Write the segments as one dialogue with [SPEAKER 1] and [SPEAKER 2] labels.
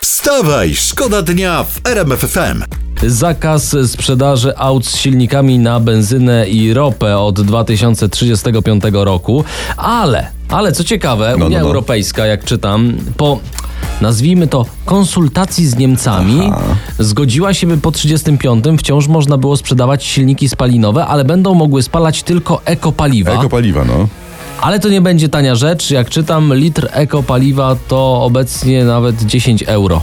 [SPEAKER 1] Wstawaj, szkoda dnia w RMFFM.
[SPEAKER 2] Zakaz sprzedaży aut z silnikami na benzynę i ropę od 2035 roku, ale, ale co ciekawe,
[SPEAKER 3] no,
[SPEAKER 2] Unia
[SPEAKER 3] no.
[SPEAKER 2] Europejska, jak czytam, po nazwijmy to konsultacji z Niemcami, zgodziła się, by po 35 wciąż można było sprzedawać silniki spalinowe, ale będą mogły spalać tylko ekopaliwa.
[SPEAKER 3] Ekopaliwa, no.
[SPEAKER 2] Ale to nie będzie tania rzecz. Jak czytam, litr ekopaliwa to obecnie nawet 10 euro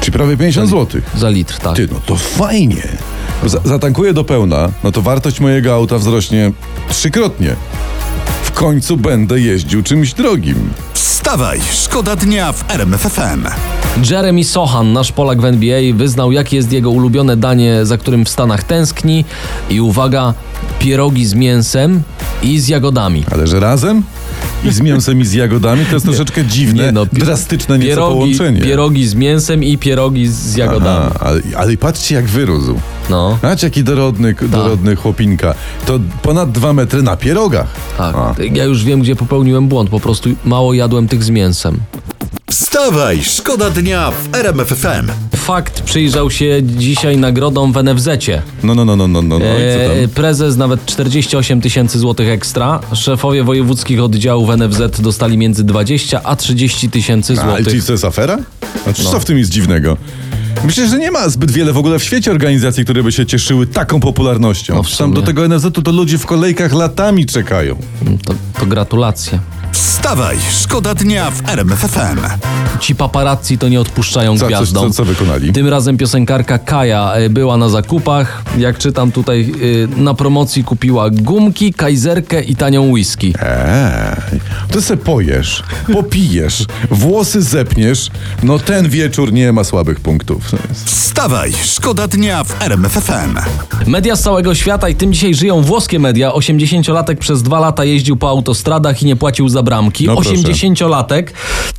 [SPEAKER 3] Czyli prawie 50 zł.
[SPEAKER 2] za litr, tak.
[SPEAKER 3] Ty, no to fajnie. Za- zatankuję do pełna, no to wartość mojego auta wzrośnie trzykrotnie. W końcu będę jeździł czymś drogim.
[SPEAKER 1] Wstawaj, szkoda dnia w RMFFM.
[SPEAKER 2] Jeremy Sohan, nasz Polak w NBA, wyznał, jakie jest jego ulubione danie, za którym w Stanach tęskni. I uwaga, pierogi z mięsem i z jagodami.
[SPEAKER 3] Ale że razem? I z mięsem i z jagodami to jest troszeczkę dziwne,
[SPEAKER 2] Nie no, pi-
[SPEAKER 3] drastyczne nieco
[SPEAKER 2] Pierogi,
[SPEAKER 3] połączenie.
[SPEAKER 2] pierogi z mięsem i pierogi z jagodami.
[SPEAKER 3] A, ale, ale patrzcie jak wyrósł.
[SPEAKER 2] No,
[SPEAKER 3] Znaczy jaki dorodny,
[SPEAKER 2] Tak.
[SPEAKER 3] dorodny chłopinka. To ponad dwa metry na pierogach.
[SPEAKER 2] tak.
[SPEAKER 3] A.
[SPEAKER 2] Ja już wiem, gdzie popełniłem błąd. Po prostu mało jadłem tych z mięsem.
[SPEAKER 1] Wstawaj, szkoda dnia w RMFFM.
[SPEAKER 2] Fakt przyjrzał się dzisiaj nagrodą w NFZ-cie.
[SPEAKER 3] No, no, no, no, no, no. no. I co tam?
[SPEAKER 2] E, prezes nawet 48 tysięcy złotych ekstra. Szefowie wojewódzkich oddziałów NFZ dostali między 20 a 30 tysięcy
[SPEAKER 3] A,
[SPEAKER 2] złotych. No.
[SPEAKER 3] czyli co jest afera? Znaczy, Co w tym jest dziwnego? Myślę, że nie ma zbyt wiele w ogóle w świecie organizacji, które by się cieszyły taką popularnością.
[SPEAKER 2] No, w
[SPEAKER 3] Tam
[SPEAKER 2] sumie.
[SPEAKER 3] do tego NFZ-u to ludzie w kolejkach latami czekają.
[SPEAKER 2] Mm, To, to gratulacje.
[SPEAKER 1] Wstawaj, szkoda dnia w RMFFM.
[SPEAKER 2] Ci paparazzi to nie odpuszczają
[SPEAKER 3] Co, co,
[SPEAKER 2] gwiazdom.
[SPEAKER 3] co, co wykonali?
[SPEAKER 2] Tym razem piosenkarka Kaja y, była na zakupach. Jak czytam tutaj, y, na promocji kupiła gumki, kajzerkę i tanią whisky.
[SPEAKER 3] Eee, to se pojesz, popijesz, włosy zepniesz. No ten wieczór nie ma słabych punktów.
[SPEAKER 1] Wstawaj, szkoda dnia w RMFFM.
[SPEAKER 2] Media z całego świata i tym dzisiaj żyją włoskie media. 80-latek przez dwa lata jeździł po autostradach i nie płacił za bramki.
[SPEAKER 3] No proszę.
[SPEAKER 2] 80-latek,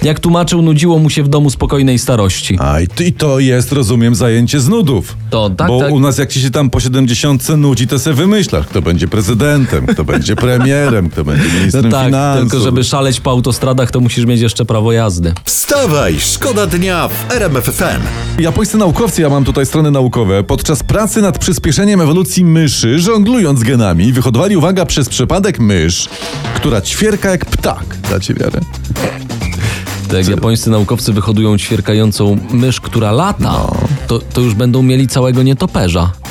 [SPEAKER 2] jak tłumaczył, nudziło mu się w domu spokojnej starości.
[SPEAKER 3] A i, ty- i to jest, rozumiem, zajęcie z nudów.
[SPEAKER 2] To tak,
[SPEAKER 3] Bo
[SPEAKER 2] tak.
[SPEAKER 3] u nas jak ci się tam po 70 nudzi, to se wymyślasz, kto będzie prezydentem, kto będzie premierem, kto będzie
[SPEAKER 2] No
[SPEAKER 3] ministrem
[SPEAKER 2] tak,
[SPEAKER 3] finansów.
[SPEAKER 2] tylko żeby szaleć po autostradach, to musisz mieć jeszcze prawo jazdy.
[SPEAKER 1] Wstawaj, szkoda dnia w RMFFM.
[SPEAKER 3] Japońscy naukowcy, ja mam tutaj strony naukowe, podczas pracy nad przyspieszeniem ewolucji myszy, żonglując genami, wyhodowali, uwaga, przez przypadek mysz, która ćwierka jak ptak. Dacie wiarę?
[SPEAKER 2] Tak, japońscy naukowcy
[SPEAKER 3] No.
[SPEAKER 2] wyhodują ćwierkającą mysz, która lata, to, to już będą mieli całego nietoperza.